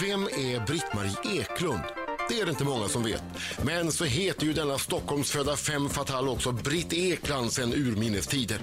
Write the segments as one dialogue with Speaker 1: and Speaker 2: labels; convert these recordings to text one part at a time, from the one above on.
Speaker 1: Vem är Britt-Marie Eklund? Det är det inte många som vet. Men så heter ju denna Stockholmsfödda fem fatal också Britt Ekland sedan urminnes tider.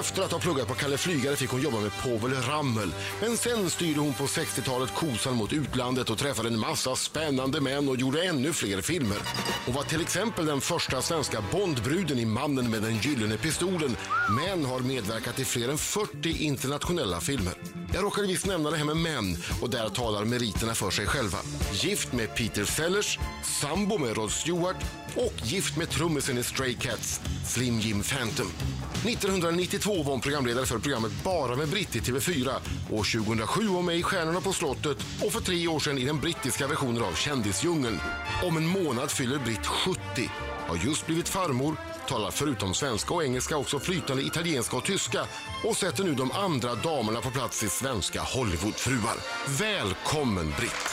Speaker 1: Efter att ha pluggat på Kalle Flygare fick hon jobba med Povel Ramel. Men sen styrde hon på 60-talet kosan mot utlandet och träffade en massa spännande män och gjorde ännu fler filmer. Hon var till exempel den första svenska Bondbruden i Mannen med den gyllene pistolen men har medverkat i fler än 40 internationella filmer. Jag råkade visst nämna det här med män och där talar meriterna för sig själva. Gift med Peter Sellers, sambo med Rod Stewart och gift med trummisen i Stray Cats, Slim Jim Phantom. 1992 var hon programledare för programmet Bara med Britt i TV4. År 2007 var hon med i Stjärnorna på slottet och för tre år sedan i den brittiska versionen av Kändisdjungeln. Om en månad fyller Britt 70 har just blivit farmor, talar förutom svenska och engelska också flytande italienska och tyska och sätter nu de andra damerna på plats i svenska Hollywoodfruar. Välkommen Britt!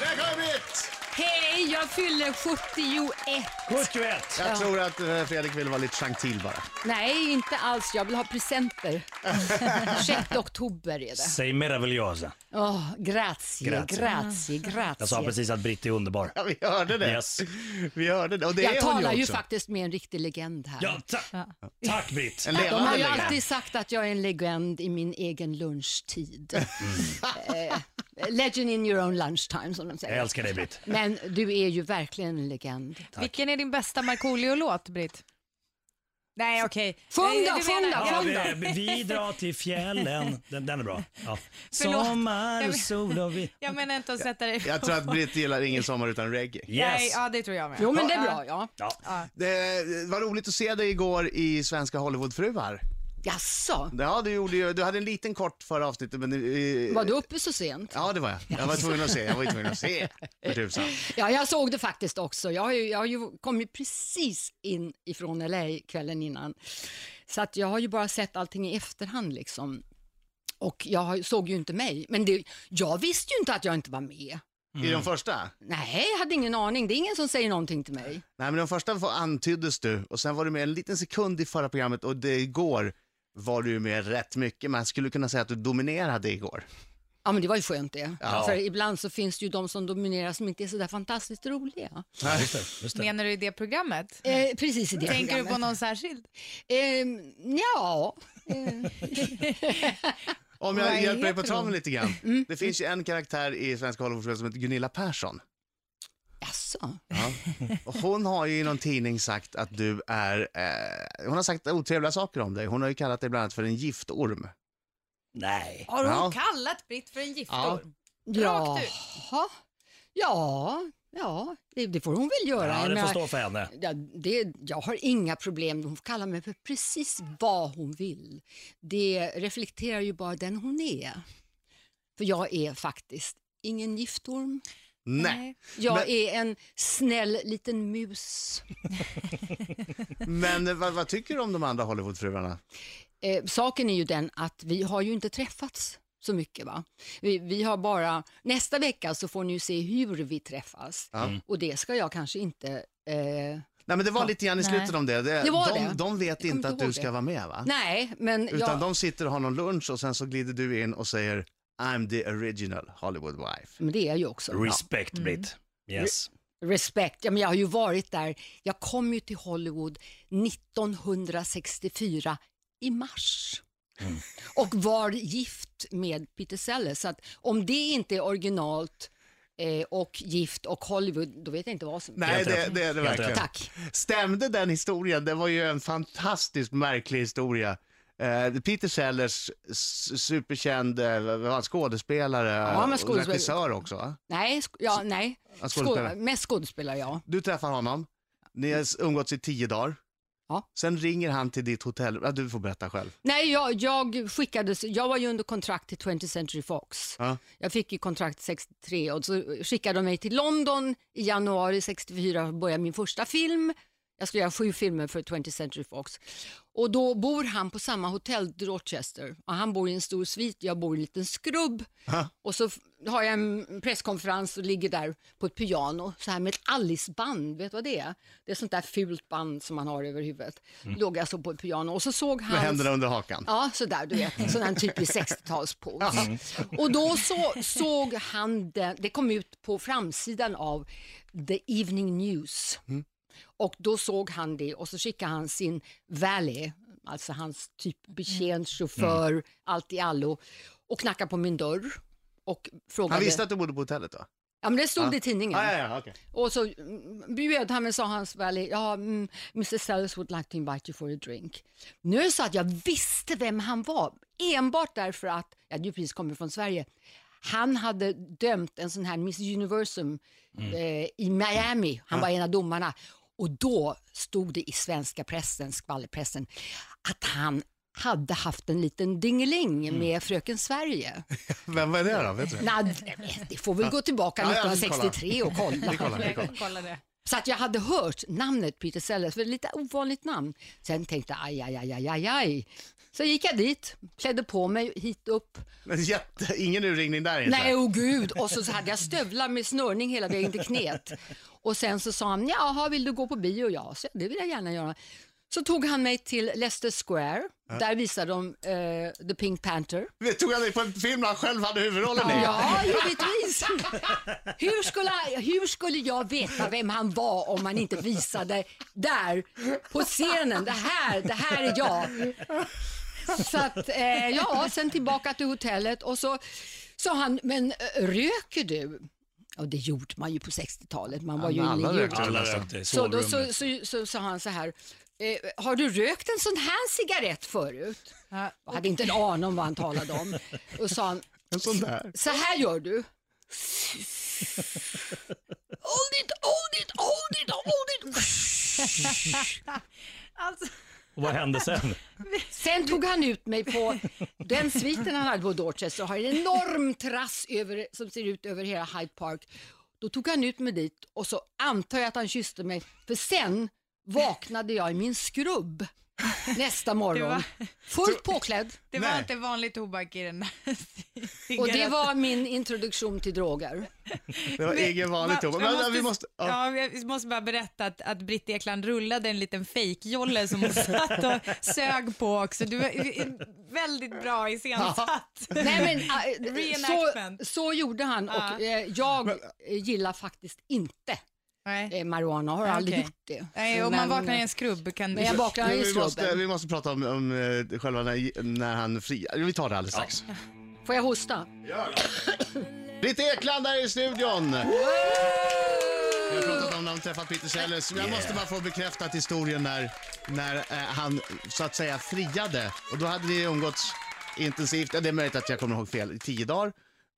Speaker 2: Välkommen Britt!
Speaker 3: Hej, jag fyller 71.
Speaker 2: 71!
Speaker 4: Jag
Speaker 3: Ja.
Speaker 4: tror att eh, Fredrik vill vara lite chang till bara.
Speaker 3: Nej, inte alls. Jag vill ha presenter. 6 oktober är det.
Speaker 2: Säg meravigliosa.
Speaker 3: Åh, grazie,
Speaker 2: Grazie.
Speaker 3: grazie, grazie.
Speaker 2: Jag sa precis att Britt är underbar.
Speaker 4: Ja, vi hörde det.
Speaker 2: Yes.
Speaker 4: Vi hörde det. Och det
Speaker 3: Jag
Speaker 4: är hon
Speaker 3: talar ju
Speaker 4: också.
Speaker 3: faktiskt med en riktig legend här.
Speaker 2: Ja, ta- tack Britt.
Speaker 4: En
Speaker 3: De har
Speaker 4: levande
Speaker 3: ju
Speaker 4: legend.
Speaker 3: alltid sagt att jag är en legend i min egen lunchtid. Eh, Legend in your own lunchtime, som de
Speaker 2: Mm. Jag
Speaker 3: säger.
Speaker 2: älskar dig Britt.
Speaker 3: Men du är ju verkligen en legend.
Speaker 5: Vilken är din bästa Markoolio-låt, Britt? Nej, okej.
Speaker 3: Sjung
Speaker 5: Nej,
Speaker 3: då,
Speaker 5: du
Speaker 3: sjung
Speaker 5: menar-
Speaker 3: då,
Speaker 2: Ja,
Speaker 3: sjung
Speaker 5: Ja,
Speaker 2: det är, vi drar till fjällen. Den, den är bra. Ja.
Speaker 5: Förlåt.
Speaker 2: Sommar
Speaker 5: Jag
Speaker 2: och
Speaker 5: vet-
Speaker 2: sol och vi...
Speaker 5: Jag menar inte att sätta dig
Speaker 4: Jag tror att Britt gillar Ingen sommar utan reggae.
Speaker 5: Nej,
Speaker 2: Yes.
Speaker 5: ja det tror jag med.
Speaker 3: Jo, men det är bra, ja.
Speaker 4: Ja. Det var roligt att se dig igår i Svenska Hollywoodfruar.
Speaker 3: Jaså,
Speaker 4: Ja, du, gjorde ju, du hade en liten kort förra avsnittet, men... eh,
Speaker 3: var du uppe så sent?
Speaker 4: Ja, det var jag. Jag var tvungen att se. Jag var ju tvungen att se. För tusan.
Speaker 3: Ja, jag såg det faktiskt också. Jag, har ju, jag har ju kom ju precis in ifrån LA kvällen innan. Så att jag har ju bara sett allting i efterhand liksom. Och jag har- såg ju inte mig, men det, jag visste ju inte att jag inte var med.
Speaker 4: I de första?
Speaker 3: Nej, jag hade ingen aning. Det är ingen som säger någonting till mig.
Speaker 4: Nej, men de första var- antyddes du och sen var du med en liten sekund i förra programmet och det igår var du med rätt mycket. Man skulle kunna säga att du dominerade igår.
Speaker 3: Ja, men det var ju skönt det.
Speaker 4: Ja.
Speaker 3: För ibland så finns det ju de som dominerar som inte är så där fantastiskt roliga.
Speaker 2: Ja, just det, just det.
Speaker 5: Menar du i det programmet?
Speaker 3: Eh, precis i det
Speaker 5: Tänker du på
Speaker 3: programmet.
Speaker 5: någon särskild?
Speaker 3: Eh, ja.
Speaker 4: Om
Speaker 5: Vad
Speaker 4: jag hjälper dig på
Speaker 5: heter
Speaker 4: traven
Speaker 5: hon?
Speaker 4: lite grann. Det finns ju en karaktär i Svenska Hollywoodfilmer som heter Gunilla Persson.
Speaker 3: Jaså?
Speaker 4: Och hon har ju i någon tidning sagt att du är... Eh, hon har sagt otrevliga saker om dig. Hon har ju kallat dig bland annat för en giftorm.
Speaker 2: Nej.
Speaker 5: Har
Speaker 4: Ja.
Speaker 5: hon kallat Britt för en giftorm?
Speaker 3: Ja.
Speaker 5: Rakt ut.
Speaker 3: Ja, ja, det, det får hon väl göra.
Speaker 2: Ja,
Speaker 3: Jag
Speaker 2: det får
Speaker 3: menar,
Speaker 2: stå för henne.
Speaker 3: ja, det, jag har inga problem, hon får kalla mig för precis vad hon vill. Det reflekterar ju bara den hon är. För jag är faktiskt ingen giftorm.
Speaker 4: Nej,
Speaker 3: Jag
Speaker 4: Men-
Speaker 3: är en snäll liten mus.
Speaker 4: men eh, vad, vad tycker du om de andra Hollywoodfruarna?
Speaker 3: Eh, saken är ju den att vi har ju inte träffats så mycket. Va? Vi, vi har bara, nästa vecka så får ni ju se hur vi träffas.
Speaker 4: Ja.
Speaker 3: Och det ska jag kanske inte eh,
Speaker 4: Nej, men det var lite grann i slutet om det. Det,
Speaker 3: Det var
Speaker 4: de,
Speaker 3: det.
Speaker 4: de vet inte
Speaker 3: inte
Speaker 4: att du
Speaker 3: ihåg
Speaker 4: ska
Speaker 3: det.
Speaker 4: vara med va?
Speaker 3: Nej, men
Speaker 4: Utan
Speaker 3: jag...
Speaker 4: de sitter och har någon lunch och sen så glider du in och säger I'm the original Hollywood wife.
Speaker 3: Men det är jag ju också. Ja.
Speaker 2: Respect Britt. Yes.
Speaker 3: Respekt. Ja, men jag har ju varit där. Jag kom ju till Hollywood 1964 i mars.
Speaker 4: Mm.
Speaker 3: Och var gift med Peter Sellers. Så att om det inte är originalt eh, och gift och Hollywood, då vet jag inte vad som...
Speaker 4: Nej,
Speaker 2: Helt
Speaker 4: det,
Speaker 2: rätt.
Speaker 4: det är det
Speaker 2: Helt
Speaker 4: verkligen.
Speaker 2: rätt.
Speaker 3: Tack.
Speaker 4: Stämde den historien? Det var ju en fantastiskt märklig historia. Eh, Peter Sellers, s- superkänd eh, vad var han, skådespelare
Speaker 3: men
Speaker 4: och
Speaker 3: skådespelare.
Speaker 4: regissör också. va?
Speaker 3: Nej, sk- ja, nej.
Speaker 4: Ja, skådespelare.
Speaker 3: Skå- mest skådespelare, ja.
Speaker 4: Du träffar honom, ni har s- umgåtts i tio dagar.
Speaker 3: Ja.
Speaker 4: Sen ringer han till ditt hotell, ja, du får berätta själv.
Speaker 3: Nej, jag, jag skickades, jag var ju under kontrakt till 20th Century Fox.
Speaker 4: Ja.
Speaker 3: Jag fick ju kontrakt 63 och så skickade de mig till London i januari 64 och började min första film. Jag skulle göra sju filmer för 20th Century Fox. Och då bor han på samma hotell, Rochester. Och han bor i en stor svit, jag bor i en liten skrubb.
Speaker 4: Ha.
Speaker 3: Och så f- har jag en presskonferens och ligger där på ett piano, så här med ett Alice-band, vet du vad det är? Det är sånt där fult band som man har över huvudet. Låg jag så på ett piano och så såg han...
Speaker 4: Med händerna under hakan.
Speaker 3: Ja, sådär du vet, sån där typisk 60-talspose. Och då så, såg han den, det kom ut på framsidan av The Evening News.
Speaker 4: Mm.
Speaker 3: Och då såg han det och så skickade han sin valet, alltså hans typ
Speaker 4: Mm.
Speaker 3: betjänt, chaufför, allt i allo, och knackade på min dörr. Och frågade,
Speaker 4: Han visste att du bodde på hotellet då?
Speaker 3: ja men det stod
Speaker 4: Ja.
Speaker 3: i tidningen.
Speaker 4: Ah, ja, ja, okej.
Speaker 3: Och så mm, bjöd han mig, sa hans valet, ja, mm, Mr Sellers would like to invite you for a drink. Nu är det så att jag visste vem han var, enbart därför att, jag hade ju precis kommit från Sverige, han hade dömt en sån här Miss Universum
Speaker 4: Mm.
Speaker 3: eh, i Miami, han var en av domarna. Och då stod det i svenska pressen, skvallerpressen, att han hade haft en liten dingeling
Speaker 4: Mm.
Speaker 3: med fröken Sverige.
Speaker 4: Vem var det då? Vet du?
Speaker 3: Nej, det får väl gå tillbaka
Speaker 4: Ja, ja, vi kollar.
Speaker 3: 1963 och kolla.
Speaker 4: Vi kollar, vi kollar.
Speaker 5: Kolla det.
Speaker 3: Så att jag hade hört namnet Peter Sellers, för det är lite ovanligt namn. Sen tänkte jag aj, aj, aj, aj, aj, aj. Så gick jag dit, klädde på mig hit upp.
Speaker 4: Men jätte, ingen urringning där inte?
Speaker 3: Nej, åh gud! Och så, så hade jag stövlar med snörning hela vägen till knät. Och sen så sa han, jaha, vill du gå på bio? Ja, så det vill jag gärna göra. Så tog han mig till Leicester Square. Där visade de eh, The Pink Panther.
Speaker 4: Vi Tog han dig på en film han själv hade huvudrollen i?
Speaker 3: Ja, givetvis. Hur skulle, hur skulle jag veta vem han var om han inte visade där på scenen, det här, det här är jag. Så att, eh, ja, sen tillbaka till hotellet och så sa han, men eh, röker du? Och det gjorde man ju på 60-talet, man var ju
Speaker 4: men
Speaker 3: en
Speaker 4: alla
Speaker 3: idiot.
Speaker 4: rökte.
Speaker 2: Alla rökte i
Speaker 3: Så då
Speaker 2: sovrummet.
Speaker 3: så, så, så sa han så här, eh, har du rökt en sån här cigarett förut?
Speaker 5: Ja.
Speaker 3: Jag hade inte en aning om vad han talade om. Och sa han,
Speaker 4: En sån där.
Speaker 3: så här gör du. Hold it, hold it, hold it, hold it.
Speaker 5: Alltså,
Speaker 2: Och vad hände sen?
Speaker 3: Sen tog han ut mig på den sviten han hade på Dorchester och har en enorm trass över, som ser ut över hela Hyde Park. Då tog han ut mig dit och så antar jag att han kysste mig för sen vaknade jag i min skrubb nästa
Speaker 5: Det
Speaker 3: morgon.
Speaker 5: var-
Speaker 3: Fullt påklädd
Speaker 5: det var
Speaker 4: Nej.
Speaker 5: inte vanlig tobak i den här cigaretten.
Speaker 3: och det var min introduktion till droger.
Speaker 4: Det var ingen vanlig tobak. Men,
Speaker 5: jag
Speaker 4: men vi måste... Ja.
Speaker 5: ja. vi måste bara berätta att, att Britt Ekland rullade en liten fejkjolle som hon satt och sög på också. Du var är väldigt bra iscensatt.
Speaker 3: Nej, men, äh,
Speaker 5: Reenactment.
Speaker 3: så, så gjorde han och
Speaker 5: Ja.
Speaker 3: eh, jag eh, gillar faktiskt inte
Speaker 5: Nej.
Speaker 3: eh, marijuana, har aldrig
Speaker 5: Okej.
Speaker 3: gjort det.
Speaker 5: Nej, om man
Speaker 3: Men,
Speaker 5: vaknar i
Speaker 3: eh,
Speaker 5: en skrubb kan
Speaker 3: men jag vaknar i
Speaker 4: vi, måste,
Speaker 3: skrubben.
Speaker 4: vi måste prata om, om eh, själva när, när han friar. Vi tar det alldeles strax.
Speaker 3: Får jag hosta?
Speaker 4: Britt Ekland där i studion! Vi har pratat om när hon träffat Peter Sellers. Jag måste bara få bekräftat historien när, när eh, han så att säga friade. Och då hade ni umgåtts intensivt. Ja, Det är möjligt att jag kommer ihåg fel. I tio dagar.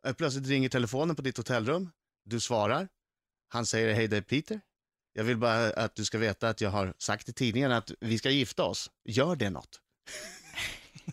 Speaker 4: Eh, Plötsligt ringer telefonen på ditt hotellrum. Du svarar. Han säger hej det är Peter. Jag vill bara att du ska veta att jag har sagt i tidningen att vi ska gifta oss. Gör det något?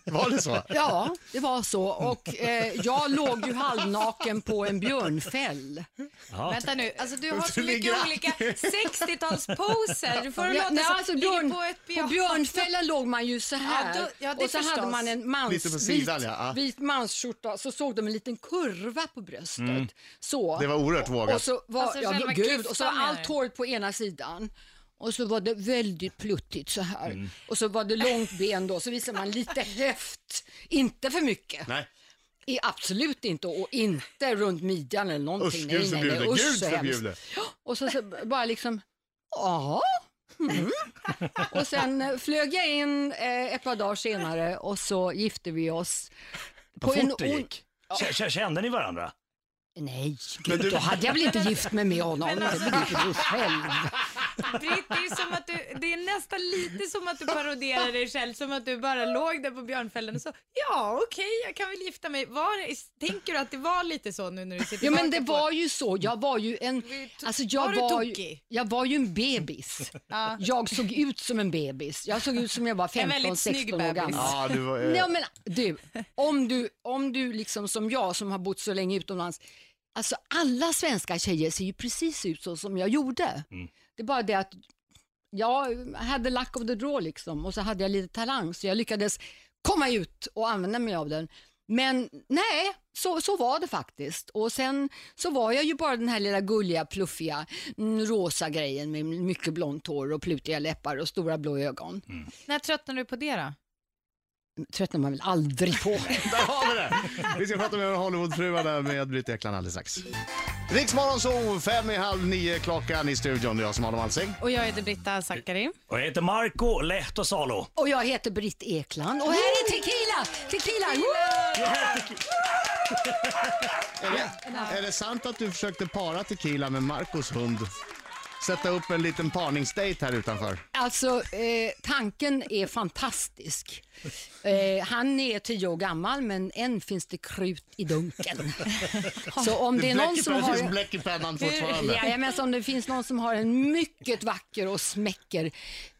Speaker 4: Var det så?
Speaker 3: Ja, det var så. Och eh, jag låg ju halvnaken på en björnfäll.
Speaker 2: Jaha.
Speaker 5: Vänta nu, alltså du har så
Speaker 4: Du ligger
Speaker 5: mycket olika 60-talsposer. Du får det
Speaker 3: Ja,
Speaker 5: låta
Speaker 3: nej,
Speaker 5: som
Speaker 3: alltså,
Speaker 5: ligger
Speaker 3: björn,
Speaker 5: på ett
Speaker 3: på björnfällan låg man ju så här.
Speaker 5: Ja, då- ja, det
Speaker 3: och så
Speaker 5: förstås.
Speaker 3: hade man en
Speaker 4: Lite på
Speaker 3: mans,
Speaker 4: sidan,
Speaker 3: vit,
Speaker 4: ja, ja.
Speaker 3: vit mansskjorta, så såg de en liten kurva på bröstet. Så.
Speaker 4: Mm. Det var oerhört
Speaker 3: Och
Speaker 4: vågat.
Speaker 3: så var,
Speaker 5: Alltså,
Speaker 3: ja,
Speaker 5: själva
Speaker 3: gud,
Speaker 5: klyftan
Speaker 3: och så var
Speaker 5: menar
Speaker 3: allt
Speaker 5: du?
Speaker 3: håret på ena sidan. Och så var det väldigt pluttigt så här.
Speaker 4: Mm.
Speaker 3: Och så var det långt ben då, så visade man lite höft. Inte för mycket.
Speaker 4: Nej.
Speaker 3: I, absolut inte. Och inte runt midjan eller någonting.
Speaker 4: Usch,
Speaker 3: Nej,
Speaker 4: Gud
Speaker 3: nej, nej.
Speaker 4: förbjude.
Speaker 3: Usch,
Speaker 4: Gud
Speaker 3: så hemskt.
Speaker 4: förbjude.
Speaker 3: Och så, så bara liksom, ja. Mm. Och sen eh, flög jag in eh, ett par dagar senare och så gifte vi oss.
Speaker 2: Vad
Speaker 3: en
Speaker 2: fort det
Speaker 3: on-
Speaker 2: gick. K- k- Kände ni varandra?
Speaker 3: Nej,
Speaker 4: Men
Speaker 3: gud,
Speaker 4: du-
Speaker 3: då hade jag väl inte gift mig med honom. Det begriper du själv.
Speaker 5: Britt, det är, som att du, det är nästan lite som att du paroderar dig själv, som att du bara låg där på björnfällen och så, ja okej, jag kan väl gifta mig. Var, det- tänker du att det var lite så nu när du sitter
Speaker 3: Ja men det
Speaker 5: tillbaka på-
Speaker 3: var ju så, jag var ju en, alltså
Speaker 5: Var
Speaker 3: jag
Speaker 5: du
Speaker 3: var ju,
Speaker 5: tokig?
Speaker 3: jag var ju en bebis.
Speaker 5: Ja.
Speaker 3: Jag såg ut som en bebis, jag såg ut som jag var
Speaker 5: En väldigt
Speaker 3: 15-16
Speaker 5: snygg
Speaker 3: år
Speaker 5: bebis.
Speaker 3: gammal.
Speaker 4: Ja, du var, eh,
Speaker 3: Nej, men, du, om du, om du liksom som jag som har bott så länge utomlands, alltså alla svenska tjejer ser ju precis ut så som jag gjorde. Det är bara det att jag hade luck of the draw liksom och så hade jag lite talang så jag lyckades komma ut och använda mig av den. Men nej, så, så var det faktiskt. Och sen så var jag ju bara den här lilla gulliga, pluffiga, mm, rosa grejen med mycket blont hår och plutiga läppar och stora blå ögon.
Speaker 5: När tröttnade du på det då?
Speaker 3: Tröttnar man väl aldrig på.
Speaker 4: Där har vi det! Vi ska prata med Hollywoodfruarna med Britt Ekland alldeles strax. Riksmorgon så fem i halv nio klockan i studion. Det är jag som har Adam Alsing.
Speaker 5: Och jag heter Britta Zackari.
Speaker 2: Och jag heter Marco Lehtosalo.
Speaker 3: och jag heter Britt Ekland och här är Tequila! Tequila! Woo!
Speaker 4: Är det, är det sant att du försökte para tequila med Marcos hund? Sätta upp en liten parningsdate här utanför.
Speaker 3: Alltså, eh, tanken är fantastisk. Eh, han är tio år gammal, men än finns det krut i dunken. Så om det är någon som
Speaker 4: det finns
Speaker 3: har...
Speaker 4: bläck i pennan fortfarande.
Speaker 3: Jajamän, så om det finns någon som har en mycket vacker och smäcker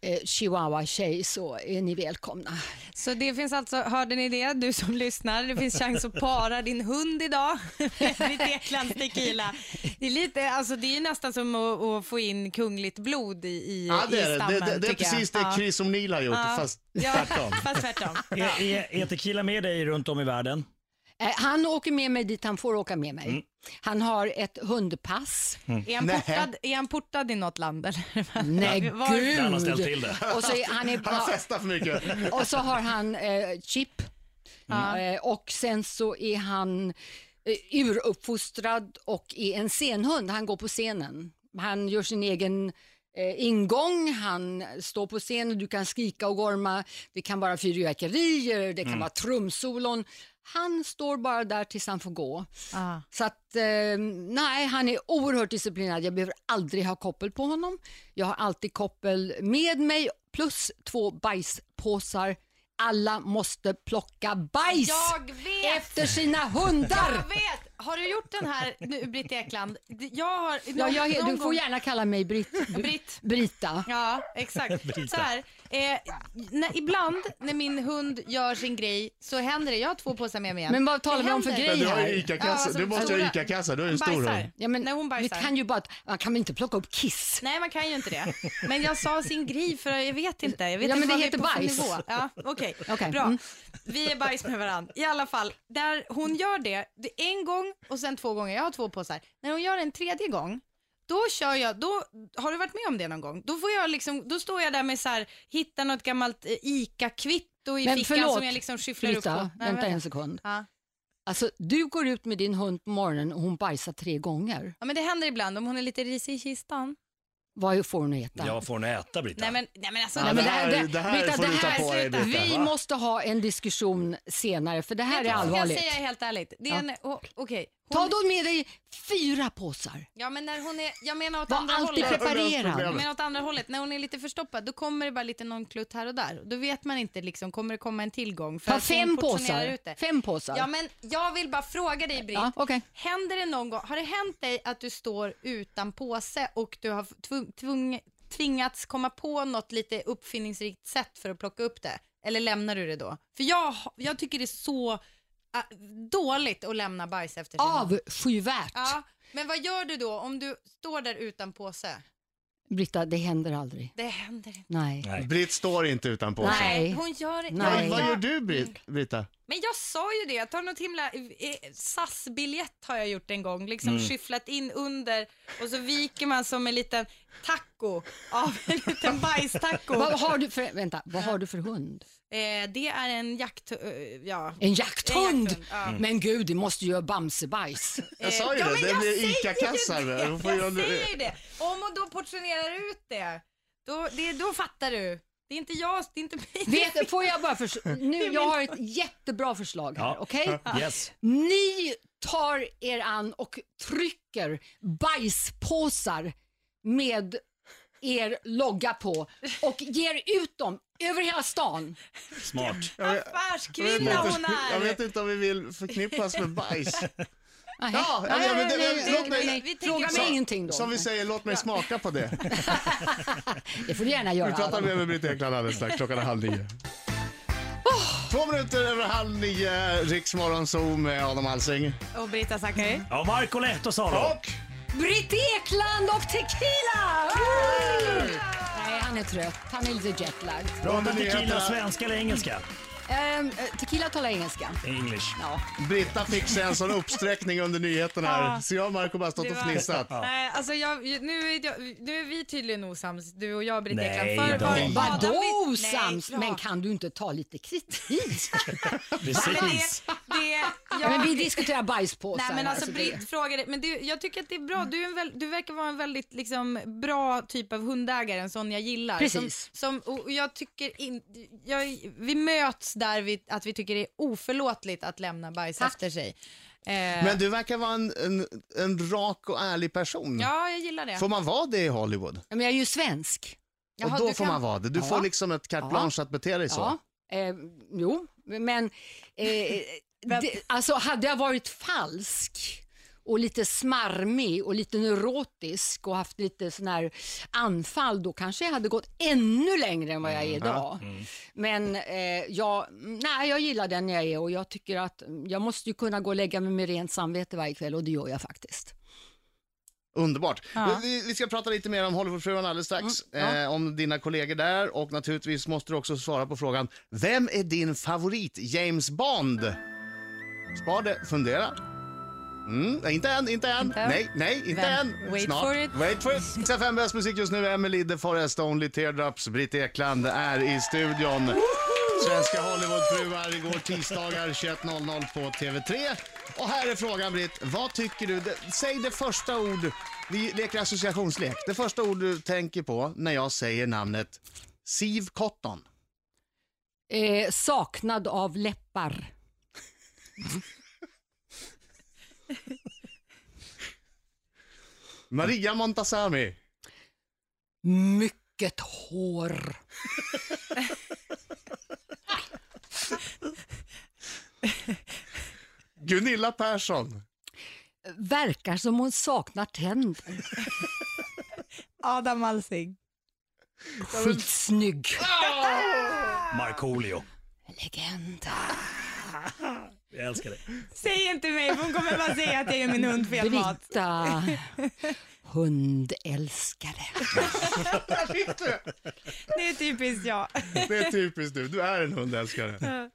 Speaker 3: eh, chihuahua-tjej så är ni välkomna.
Speaker 5: Så det finns alltså, hörde ni det, du som lyssnar, det finns chans att para din hund idag med ditt Eklands tequila. Det är, lite, alltså, det är ju nästan som att, att få in kungligt blod i, i,
Speaker 4: Ja, det är
Speaker 5: i
Speaker 4: det.
Speaker 5: stammen.
Speaker 4: Det, det, det är
Speaker 5: tycker jag.
Speaker 4: precis det
Speaker 5: Ja.
Speaker 4: Chris O'Neill har gjort,
Speaker 5: Ja.
Speaker 4: fast
Speaker 5: Ja,
Speaker 4: tvärtom.
Speaker 5: Fast tvärtom.
Speaker 2: Är, är, är E, tequila med dig runt om i världen?
Speaker 3: Eh, han åker med mig dit han får åka med mig. Han har ett hundpass.
Speaker 5: Är han,
Speaker 4: Nej.
Speaker 5: portad, är han portad i något land? Eller?
Speaker 3: Nej,
Speaker 5: Var-
Speaker 3: gud!
Speaker 2: Där han har ställt till det.
Speaker 3: Och så är, han är,
Speaker 4: Han har festat för mycket.
Speaker 3: Och så har han eh, chip. Eh, och sen så är han eh, uruppfostrad och är en scenhund. Han går på scenen. Han gör sin egen eh, ingång, han står på scenen, du kan skrika och gorma. Det kan vara fyrverkerier, det kan vara trumsolon. Han står bara där tills han får gå.
Speaker 5: Ah.
Speaker 3: Så att, eh, nej, han är oerhört disciplinerad. Jag behöver aldrig ha koppel på honom. Jag har alltid koppel med mig plus två bajspåsar. Alla måste plocka bajs
Speaker 5: Jag vet!
Speaker 3: efter sina hundar.
Speaker 5: Jag vet! Har du gjort den här, nu, Britt Ekland? Jag har...
Speaker 3: Ja, jag, he-
Speaker 5: någon
Speaker 3: du får
Speaker 5: gång-
Speaker 3: gärna kalla mig Britt,
Speaker 5: Britt.
Speaker 3: Brita.
Speaker 5: Ja, exakt. Så här, eh, när, ibland när min hund gör sin grej så händer det. Jag har två påsar med mig igen.
Speaker 3: Men vad talar
Speaker 5: Det
Speaker 3: vi om för
Speaker 5: händer.
Speaker 4: Men
Speaker 3: grej
Speaker 4: du har ju
Speaker 3: här?
Speaker 4: ICA-kassa.
Speaker 5: Ja, alltså,
Speaker 4: du måste ju ha
Speaker 5: stora-
Speaker 4: ICA-kassa, du är en stor
Speaker 5: Bajsar.
Speaker 4: hund.
Speaker 3: Ja, men,
Speaker 5: när hon
Speaker 3: vi
Speaker 5: bajsar.
Speaker 3: kan ju bara, man kan väl inte plocka upp kiss?
Speaker 5: Nej, man kan ju inte det. Men jag sa sin grej för jag vet inte. Jag vet
Speaker 3: Ja, men det
Speaker 5: inte vad vi är
Speaker 3: heter
Speaker 5: på för
Speaker 3: bajs.
Speaker 5: nivå. Ja, okej.
Speaker 3: Okej,
Speaker 5: Bra.
Speaker 3: mm.
Speaker 5: Vi är bajs med varandra. I alla fall, där hon gör det, det är en gång och sen två gånger. Jag har två påsar. När hon gör en tredje gång, då kör jag, då, har du varit med om det någon gång? Då får jag liksom, då står jag där med så här, hittar något gammalt eh, ICA-kvitto i
Speaker 3: Men
Speaker 5: fickan
Speaker 3: förlåt,
Speaker 5: som jag liksom skyfflar upp på.
Speaker 3: Brita,
Speaker 5: Nej,
Speaker 3: vänta
Speaker 5: vänta.
Speaker 3: en sekund.
Speaker 5: Ja.
Speaker 3: Alltså, du går ut med din hund på morgonen och hon bajsar tre gånger.
Speaker 5: ja, men det händer ibland om hon är lite risig i kistan.
Speaker 3: Vad får hon att äta?
Speaker 2: Jag får nog äta Britta.
Speaker 5: Nej men, nej, men alltså,
Speaker 4: Ja,
Speaker 3: Nej, men det här, det,
Speaker 4: det här
Speaker 3: Britta,
Speaker 4: får
Speaker 3: det
Speaker 4: du ta
Speaker 3: här,
Speaker 5: på dig,
Speaker 4: Britta,
Speaker 3: Vi
Speaker 4: va?
Speaker 3: måste ha en diskussion senare, för det här är allvarligt.
Speaker 5: Ska jag säga helt ärligt? Det är
Speaker 3: Ja.
Speaker 5: en, oh, okej.
Speaker 3: Ta
Speaker 5: Hon-
Speaker 3: då med dig fyra påsar.
Speaker 5: Ja men när hon är, jag menar åt
Speaker 3: Var
Speaker 5: andra
Speaker 3: alltid
Speaker 5: hållet. Jag
Speaker 3: preparerad.
Speaker 5: menar åt andra hållet, när hon är lite förstoppad då kommer det bara lite någon klutt här och där. Då vet man inte liksom, kommer det komma en tillgång? För
Speaker 3: Ta
Speaker 5: att hon
Speaker 3: fem
Speaker 5: portionerar
Speaker 3: påsar.
Speaker 5: Ut det.
Speaker 3: Fem påsar.
Speaker 5: Ja men jag vill bara fråga dig Britt.
Speaker 3: Ja, okej.
Speaker 5: Händer det någon gång, har det hänt dig att du står utan påse och du har tvung, tvung, tvingats komma på något lite uppfinningsrikt sätt för att plocka upp det? Eller lämnar du det då? För jag, jag tycker det är så äh, dåligt att lämna bajs efter sig.
Speaker 3: Avskyvärt.
Speaker 5: Ja, men vad gör du då om du står där utan påse?
Speaker 3: Britta, det händer aldrig.
Speaker 5: Det händer inte.
Speaker 3: Nej.
Speaker 2: Nej.
Speaker 4: Britt står inte utan påsen.
Speaker 3: Nej.
Speaker 5: Hon gör inte
Speaker 3: Nej.
Speaker 4: Vad, vad gör du Britt, Britta?
Speaker 5: Men jag sa ju det, jag tar något himla... eh, SAS-biljett har jag gjort en gång, liksom skyfflat in under och så viker man som en liten taco av en liten bajstaco.
Speaker 3: Vad har du för, vänta, vad har du för hund?
Speaker 5: eh, det är en jakt... eh, ja.
Speaker 3: En Mm. jakthund!
Speaker 5: En jakthund, ja. Eh,
Speaker 3: Men gud, det måste ju göra Bamsebajs.
Speaker 4: Jag sa ju
Speaker 5: ja,
Speaker 4: det,
Speaker 5: men
Speaker 4: det
Speaker 5: jag
Speaker 4: blir
Speaker 5: säger ju
Speaker 4: ICA-kassar.
Speaker 5: det.
Speaker 4: Då
Speaker 5: Jag
Speaker 4: får jag-
Speaker 5: säger ju det. Om och då portionerar ut det, då, det, då fattar du. Det är inte jag, det är inte mig.
Speaker 3: Vet, får jag bara förs- nu, jag har ett jättebra förslag här,
Speaker 2: Ja.
Speaker 3: okej?
Speaker 2: Yes.
Speaker 3: Ni tar er an och trycker bajspåsar med er logga på och ger ut dem över hela stan.
Speaker 2: Smart.
Speaker 4: Jag vet
Speaker 5: Affärskvinna
Speaker 4: inte-
Speaker 5: hon är.
Speaker 4: Jag vet inte om vi vill förknippas med bajs.
Speaker 3: Nej,
Speaker 4: Ja, ja, men det- låt mig-
Speaker 5: vi- vi tänker
Speaker 3: fråga
Speaker 5: så-
Speaker 3: mig ingenting då.
Speaker 4: Som vi säger, låt mig smaka på det.
Speaker 3: Det får du gärna göra.
Speaker 4: Vi pratar
Speaker 3: Adam.
Speaker 4: mer med Britt Ekland alldeles strax. Klockan är halv nio.
Speaker 5: Oh.
Speaker 4: Två minuter över halv nio, Riksmorgon Zoo med Adam Alsing.
Speaker 5: Och Brita Zackari.
Speaker 2: Ja, Marco Lehtosalo.
Speaker 4: Och
Speaker 3: Britt Ekland och tequila! Nej, han han är trött, han är lite jetlagd.
Speaker 2: Pratar
Speaker 4: men
Speaker 2: tequila
Speaker 4: nyheterna-
Speaker 2: svenska eller engelska?
Speaker 3: Ehm, eh, tequila talar engelska.
Speaker 2: English.
Speaker 3: Ja.
Speaker 4: Britta fick sig en sån uppsträckning under nyheterna här.
Speaker 5: Ja.
Speaker 4: Så jag och Marco bara stått
Speaker 5: Det
Speaker 4: och
Speaker 5: var-
Speaker 4: fnissat.
Speaker 5: Nej, alltså jag, nu, är jag, nu är vi tydligen osams, du och jag Britt
Speaker 2: Nej
Speaker 5: Ekland.
Speaker 2: då.
Speaker 5: var-
Speaker 2: Nej.
Speaker 5: Adam
Speaker 3: Vadå
Speaker 5: Witt-
Speaker 3: osams?
Speaker 5: Nej,
Speaker 3: Men
Speaker 5: bra.
Speaker 3: kan du inte ta lite kritik?
Speaker 5: Men det,
Speaker 2: Precis.
Speaker 5: det,
Speaker 3: Ja,
Speaker 5: jag,
Speaker 3: men vi diskuterar bajspåsar.
Speaker 5: Nej men alltså
Speaker 3: det-
Speaker 5: Britt frågade, men du, jag tycker att det är bra, du, är en väl, du verkar vara en väldigt liksom, bra typ av hundägare, en sån jag gillar.
Speaker 3: Precis.
Speaker 5: Som, som, och jag tycker in, jag, vi möts där vi, att vi tycker det är oförlåtligt att lämna bajs
Speaker 3: Tack.
Speaker 5: efter sig. Eh,
Speaker 4: Men du verkar vara en, en, en rak och ärlig person.
Speaker 5: ja, jag gillar det.
Speaker 4: Får man vara det i Hollywood?
Speaker 3: Ja, men jag är ju svensk.
Speaker 5: Jaha,
Speaker 4: och då
Speaker 5: du
Speaker 4: får
Speaker 5: kan-
Speaker 4: man vara det. Du
Speaker 3: Ja.
Speaker 4: får liksom ett carte
Speaker 3: Ja.
Speaker 4: blanche att bete dig så.
Speaker 3: Ja. Eh, jo, men eh, det, alltså hade jag varit falsk och lite smarmig och lite neurotisk och haft lite sån här anfall, då kanske jag hade gått ännu längre än vad jag är idag. Men eh, jag, nej, jag gillar den jag är och jag tycker att jag måste ju kunna gå och lägga mig med rent samvete varje kväll och det gör jag faktiskt.
Speaker 4: Underbart.
Speaker 5: Ja.
Speaker 4: Vi, vi ska prata lite mer om Hollywoodfruarna alldeles strax.
Speaker 3: Mm, ja.
Speaker 4: eh, om dina kollegor där och naturligtvis måste du också svara på frågan. Vem är din favorit James Bond? Spar det, fundera. Mm, nej, inte än, inte än.
Speaker 5: Inte än.
Speaker 4: Nej, nej, inte
Speaker 5: Vem?
Speaker 4: än.
Speaker 5: Wait
Speaker 4: Snart.
Speaker 5: for it.
Speaker 4: Wait for it. Riksdag fem bäst musik just nu. Emily The Forest, Only Teardrops, Britt Ekland är i studion. Svenska Hollywoodfruar igår tisdagar 21.00 på TV3. Och här är frågan Britt, vad tycker du? Det- Säg det första ord, vi leker associationslek. Det första ord du tänker på när jag säger namnet Siv Cotton.
Speaker 3: Eh, saknad av läppar.
Speaker 4: Maria Montazami.
Speaker 3: Mycket hår.
Speaker 4: Gunilla Persson.
Speaker 3: Verkar som hon saknar tänder.
Speaker 5: Adam Alsing.
Speaker 3: Skitsnygg.
Speaker 2: Markoolio.
Speaker 3: Legend.
Speaker 2: Jag älskar dig.
Speaker 5: Säg inte mig, för hon kommer bara säga att jag ger min hund fel mat.
Speaker 3: Britta. Hundälskare.
Speaker 5: Det är typiskt jag.
Speaker 4: Det är typiskt du. Du är en hundälskare.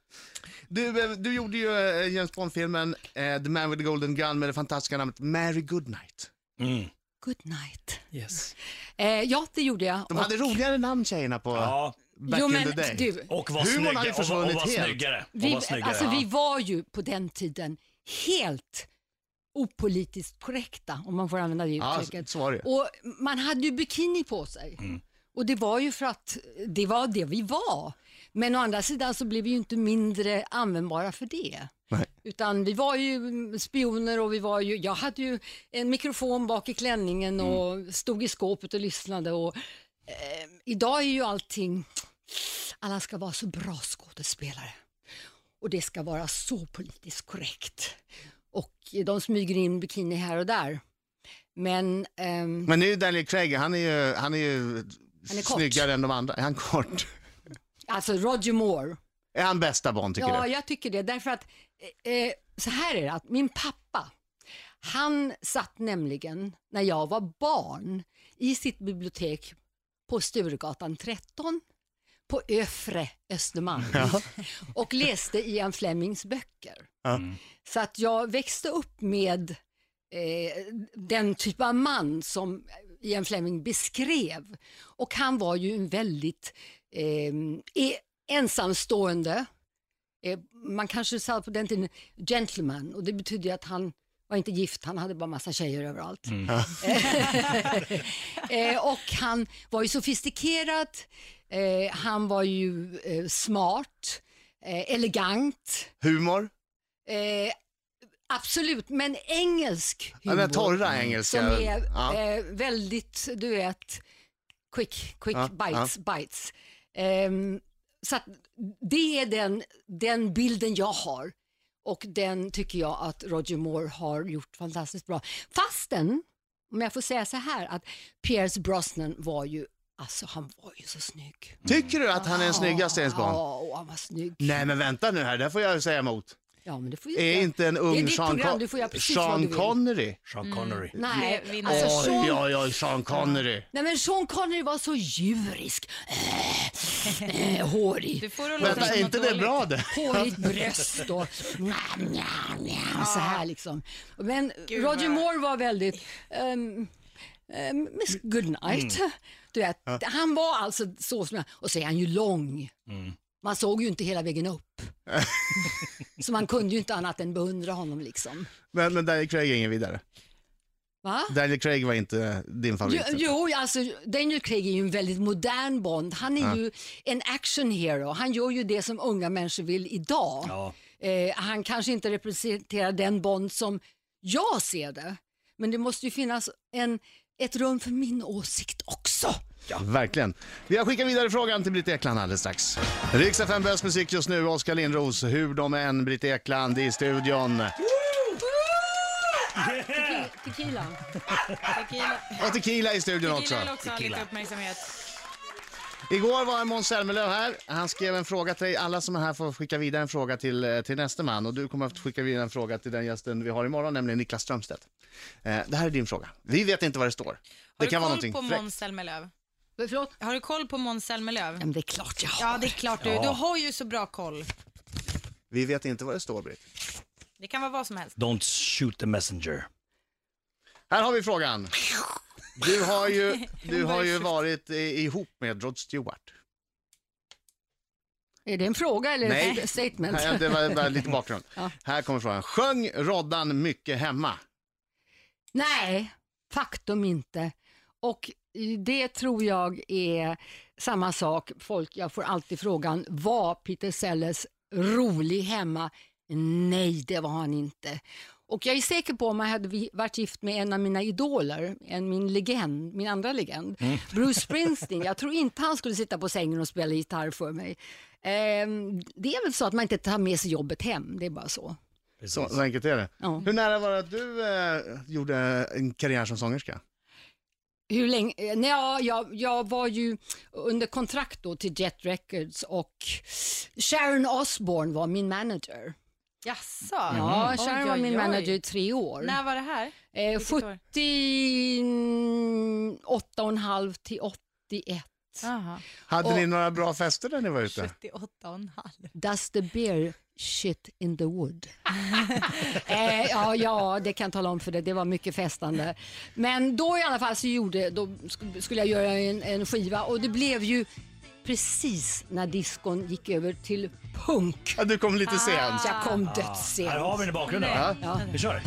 Speaker 4: Du, eh, du gjorde ju eh, James Bond-filmen eh, The Man with the Golden Gun med det fantastiska namnet Mary Goodnight.
Speaker 3: Good night.
Speaker 2: Yes.
Speaker 3: Eh, ja, det gjorde jag.
Speaker 4: De hade roligare namn tjejerna på
Speaker 2: Ja,
Speaker 4: back
Speaker 3: jo,
Speaker 4: in
Speaker 3: men
Speaker 4: the day.
Speaker 3: du,
Speaker 2: och var
Speaker 4: Humorn
Speaker 2: snygga.
Speaker 4: hade ju
Speaker 2: Och var, och var
Speaker 4: försvunnit helt.
Speaker 2: snyggare. Och
Speaker 3: vi,
Speaker 2: var snyggare.
Speaker 3: alltså, vi var ju på den tiden helt opolitiskt korrekta, om man får använda det
Speaker 4: Ja,
Speaker 3: uttrycket.
Speaker 4: så var det. Mm.
Speaker 3: Och man hade ju bikini på sig. Och det var ju för att det var det vi var. Men å andra sidan så blev vi ju inte mindre användbara för det.
Speaker 4: Nej.
Speaker 3: Utan vi var ju mm, spioner och vi var ju, jag hade ju en mikrofon bak i klänningen
Speaker 4: Mm.
Speaker 3: och stod i skåpet och lyssnade. Och, eh, idag är ju allting, alla ska vara så bra skådespelare. Och det ska vara så politiskt korrekt. Och de smyger in bikini här och där. Men ehm,
Speaker 4: Men nu är Daniel Craig, han är ju, han är ju
Speaker 3: Han är kort.
Speaker 4: snyggare än de andra. Är han kort?
Speaker 3: alltså Roger Moore,
Speaker 4: Är han bästa Bond tycker
Speaker 3: ja
Speaker 4: du?
Speaker 3: jag tycker det. Därför att, eh, eh, så här är det, att min pappa, han satt nämligen när jag var barn i sitt bibliotek på Sturegatan 13 på Öfre Östermalm och läste Ian Flemings böcker.
Speaker 4: Ja.
Speaker 3: Så att jag växte upp med eh, den typ av man som Ian Fleming beskrev. Och han var ju en väldigt eh, e- ensamstående, eh, man kanske sa på den tiden gentleman och det betyder ju att han var inte gift, han hade bara massa tjejer överallt. eh, och han var ju sofistikerad, eh, han var ju eh, smart, eh, elegant,
Speaker 4: Humor?
Speaker 3: eh, absolut, men engelsk
Speaker 4: Ja,
Speaker 3: humor.
Speaker 4: Den där torra engelska.
Speaker 3: Som är
Speaker 4: Ja.
Speaker 3: eh, väldigt, du vet, quick, quick
Speaker 4: Ja,
Speaker 3: bites, bites. Ehm, så att det är den, den bilden jag har. Och den tycker jag att Roger Moore har gjort fantastiskt bra. Fastän, om jag får säga så här, att Pierce Brosnan var ju, alltså han var ju så snygg.
Speaker 4: Tycker du att han är den snyggaste James Bond?
Speaker 3: Ja, och han var snygg.
Speaker 4: Nej men vänta nu här, där får jag ju säga emot.
Speaker 3: Ja, men det får ju
Speaker 4: Är
Speaker 3: jag-
Speaker 4: inte en
Speaker 3: Det är
Speaker 4: ung
Speaker 3: ditt
Speaker 4: Sean,
Speaker 3: program,
Speaker 4: Con-
Speaker 3: du får göra precis vad du
Speaker 4: Sean
Speaker 3: vill.
Speaker 4: Connery?
Speaker 3: Mm.
Speaker 2: Sean Connery.
Speaker 3: Nej,
Speaker 5: Vi- vi-
Speaker 3: alltså Sean,
Speaker 4: Oj, oj, oj, Sean Connery.
Speaker 3: nej, men Sean Connery var så djurisk. Äh, äh, hårig.
Speaker 5: Du får det att låta
Speaker 4: Vänta,
Speaker 5: som
Speaker 4: är
Speaker 5: något
Speaker 4: inte det
Speaker 5: dåligt.
Speaker 4: bra det?
Speaker 3: Hårigt bröst och nja, nja, nja, så här liksom. Men
Speaker 5: Gud,
Speaker 3: Roger
Speaker 5: vad-
Speaker 3: Moore var väldigt, um, um, Miss Goodnight. Du vet, han var alltså så som jag, och så är han ju lång. Man såg ju inte hela vägen upp. så man kunde ju inte annat än beundra honom liksom.
Speaker 4: Men, men Daniel Craig är ingen vidare.
Speaker 3: Va?
Speaker 4: Daniel Craig var inte din
Speaker 3: Jo,
Speaker 4: favorit.
Speaker 3: jo, alltså Daniel Craig är ju en väldigt modern Bond. Han är ju en action hero. Han gör ju det som unga människor vill idag.
Speaker 2: Ja.
Speaker 3: Eh, han kanske inte representerar den Bond som jag ser det. Men det måste ju finnas en, ett rum för min åsikt också.
Speaker 4: Verkligen. Vi har skickat vidare frågan till Britt Ekland alldeles strax. Riks FM bäst musik just nu, Oskar Lindros, hur de än, Britt Ekland i studion.
Speaker 3: Tequila.
Speaker 5: Tequila
Speaker 4: Och tequila i studion också.
Speaker 5: Tequila vill också ha lite uppmärksamhet.
Speaker 4: Igår var Måns Zelmerlöw här. Han skrev en fråga till dig. Alla som är här får skicka vidare en fråga till, eh, till nästa man. Och du kommer att skicka vidare en fråga till den gästen vi har imorgon, nämligen Niklas Strömstedt. Eh, det här är din fråga. Vi vet inte vad det står.
Speaker 5: Har
Speaker 4: Det
Speaker 5: du
Speaker 4: kan vara
Speaker 5: koll
Speaker 4: någonting
Speaker 5: på
Speaker 4: fräckt.
Speaker 5: Måns Zelmerlöw?
Speaker 3: Förlåt?
Speaker 5: Har du koll på Måns Zelmerlöw?
Speaker 3: Ja, men det är klart jag har.
Speaker 5: Ja, det är klart du. Du har ju så bra koll.
Speaker 4: Vi vet inte vad det står, Britt.
Speaker 5: Det kan vara vad som helst.
Speaker 2: Don't shoot the messenger.
Speaker 4: Här har vi frågan. Du har ju, du har ju varit eh, ihop med Rod Stewart.
Speaker 3: Är det en fråga eller
Speaker 4: Nej.
Speaker 3: ett statement?
Speaker 4: Här, det var bara lite bakgrund. Här kommer frågan. Sjöng Roddan mycket hemma?
Speaker 3: Nej, faktum inte. Och det tror jag är samma sak. Folk, jag får alltid frågan, var Peter Sellers rolig hemma? Nej, det var han inte. Och jag är säker på om jag hade vi- varit gift med en av mina idoler, en min legend, min andra legend, Bruce Springsteen, jag tror inte han skulle sitta på sängen och spela gitarr för mig. Ehm, det är väl så att man inte tar med sig jobbet hem, det är bara så.
Speaker 4: Så, så enkelt är det.
Speaker 3: Ja.
Speaker 4: Hur nära var det att du eh, gjorde en karriär som sångerska?
Speaker 3: Hur länge? eh, Nej, ja, jag, jag var ju under kontrakt då till Jet Records och Sharon Osbourne var min manager.
Speaker 5: Jaså?
Speaker 4: Mm.
Speaker 3: Ja,
Speaker 5: Oj,
Speaker 3: Sharon
Speaker 5: oj,
Speaker 3: var min
Speaker 5: oj.
Speaker 3: manager i tre år.
Speaker 5: När var det här?
Speaker 3: Eh,
Speaker 5: vilket år?
Speaker 3: 78,5 till 81.
Speaker 5: Jaha.
Speaker 4: Hade
Speaker 3: Och-
Speaker 4: ni några bra fester när ni var ute?
Speaker 5: 78,5.
Speaker 3: Does the beer shit in the wood? eh, ja, ja, det kan jag tala om för det. Det var mycket festande. Men då i alla fall så gjorde, då sk- skulle jag göra en, en skiva och det blev ju precis när diskon gick över till punk.
Speaker 4: Ja, du kom lite
Speaker 3: Ah.
Speaker 4: sent.
Speaker 3: Jag kom
Speaker 2: Ah. Här har
Speaker 3: dödssent.
Speaker 2: vi den i bakgrunden.
Speaker 5: Nej.
Speaker 2: Ja. Vi kör.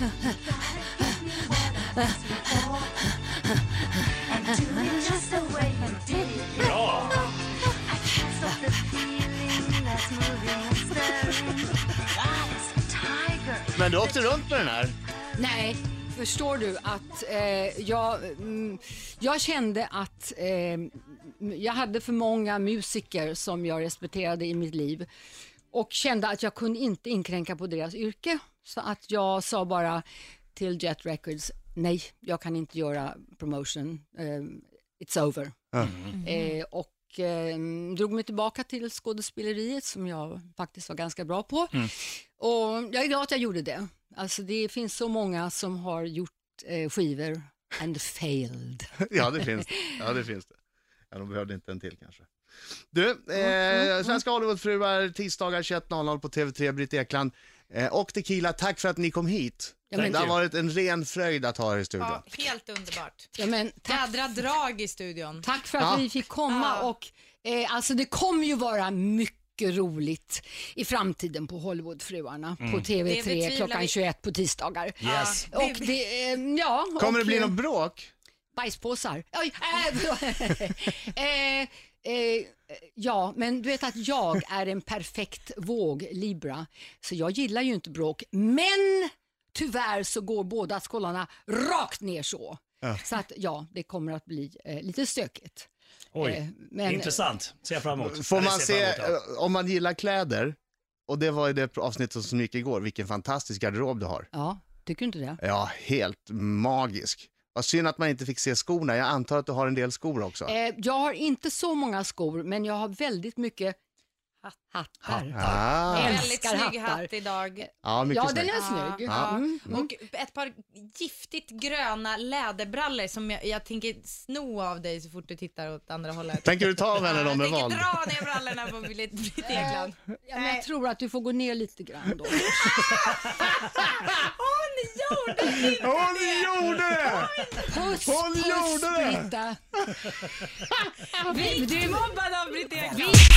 Speaker 6: Just the way you did it.
Speaker 2: Bra!
Speaker 6: I can't stop the feeling that's moving inside. God, it's a tiger.
Speaker 4: Men du åkte runt med den här.
Speaker 3: Nej, förstår du att eh, jag, mm, jag kände att eh, m- jag hade för många musiker som jag respekterade i mitt liv och kände att jag kunde inte inkränka på deras yrke. Så att jag sa bara till Jet Records, nej, jag kan inte göra promotion, eh, it's over. Eh, och eh, drog mig tillbaka till skådespeleriet som jag faktiskt var ganska bra på. Och jag är glad att jag gjorde det. Alltså det finns så många som har gjort eh, skivor and failed.
Speaker 4: Ja, det finns det. Ja, det finns det. Ja, de behövde inte en till kanske. Du, eh, Svenska Hollywoodfruar, tisdagar 21.00 på TV3, Britt Ekland eh, och Tequila, tack för att ni kom hit.
Speaker 3: Ja, men-
Speaker 4: det har varit en ren fröjd att ha er i studion.
Speaker 5: Ja, helt underbart.
Speaker 3: Ja, men tack,
Speaker 5: Jädra drag i studion.
Speaker 3: tack för att
Speaker 4: Ja.
Speaker 3: vi fick komma
Speaker 5: Ja.
Speaker 3: och eh, alltså det kommer ju vara mycket roligt i framtiden på Hollywoodfruarna på
Speaker 4: Mm.
Speaker 5: Det betvivlar
Speaker 3: TV3 klockan
Speaker 5: vi.
Speaker 3: 21 på tisdagar.
Speaker 2: Yes.
Speaker 5: Ja,
Speaker 3: Och
Speaker 5: det-
Speaker 3: det, eh, ja,
Speaker 4: Kommer
Speaker 3: och,
Speaker 4: det bli
Speaker 3: eh,
Speaker 4: något bråk?
Speaker 3: Bajspåsar. Oj, äh, förlåt. eh, eh, ja, men du vet att jag är en perfekt våg, Libra, så jag gillar ju inte bråk. Men tyvärr så går båda skålarna rakt ner så. Så att ja, det kommer att bli eh, lite stökigt. Eh,
Speaker 2: Oj,
Speaker 3: men-
Speaker 2: intressant. Ser jag fram emot.
Speaker 4: Får
Speaker 2: Eller
Speaker 4: man
Speaker 2: ser
Speaker 4: se,
Speaker 2: jag fram emot,
Speaker 4: eh, om man gillar kläder, och det var ju det avsnittet som gick igår, vilken fantastisk garderob du har.
Speaker 3: Ja, tycker du inte det?
Speaker 4: Ja, helt magisk. Vad synd att man inte fick se skorna. Jag antar att du har en del skor också.
Speaker 3: Eh, jag har inte så många skor, men jag har väldigt mycket Hattar.
Speaker 4: Ah.
Speaker 3: Jag
Speaker 5: Väldigt
Speaker 3: älskar
Speaker 5: snygg
Speaker 3: hattar.
Speaker 5: hatt idag.
Speaker 4: Ja, mycket
Speaker 3: Ja,
Speaker 4: snyggt.
Speaker 3: den är
Speaker 5: Ja.
Speaker 3: snygg.
Speaker 5: Ja.
Speaker 3: Mm, mm.
Speaker 5: Och ett par giftigt gröna läderbrallor som jag, jag tänker sno av dig så fort du tittar åt andra hållet.
Speaker 4: Tänker du ta av henne
Speaker 5: Ja,
Speaker 4: dem med
Speaker 5: Jag
Speaker 4: våld?
Speaker 5: tänker dra ner brallorna på Britt Britt Ekland.
Speaker 3: Ja, men
Speaker 5: Eh.
Speaker 3: jag tror att du får gå ner lite grann då.
Speaker 5: Hon gjorde det!
Speaker 4: Hon gjorde det!
Speaker 3: Puss,
Speaker 4: Hon
Speaker 3: puss,
Speaker 4: gjorde det!
Speaker 3: Britta.
Speaker 5: Vi- Du är mobbad av Britt Ekland.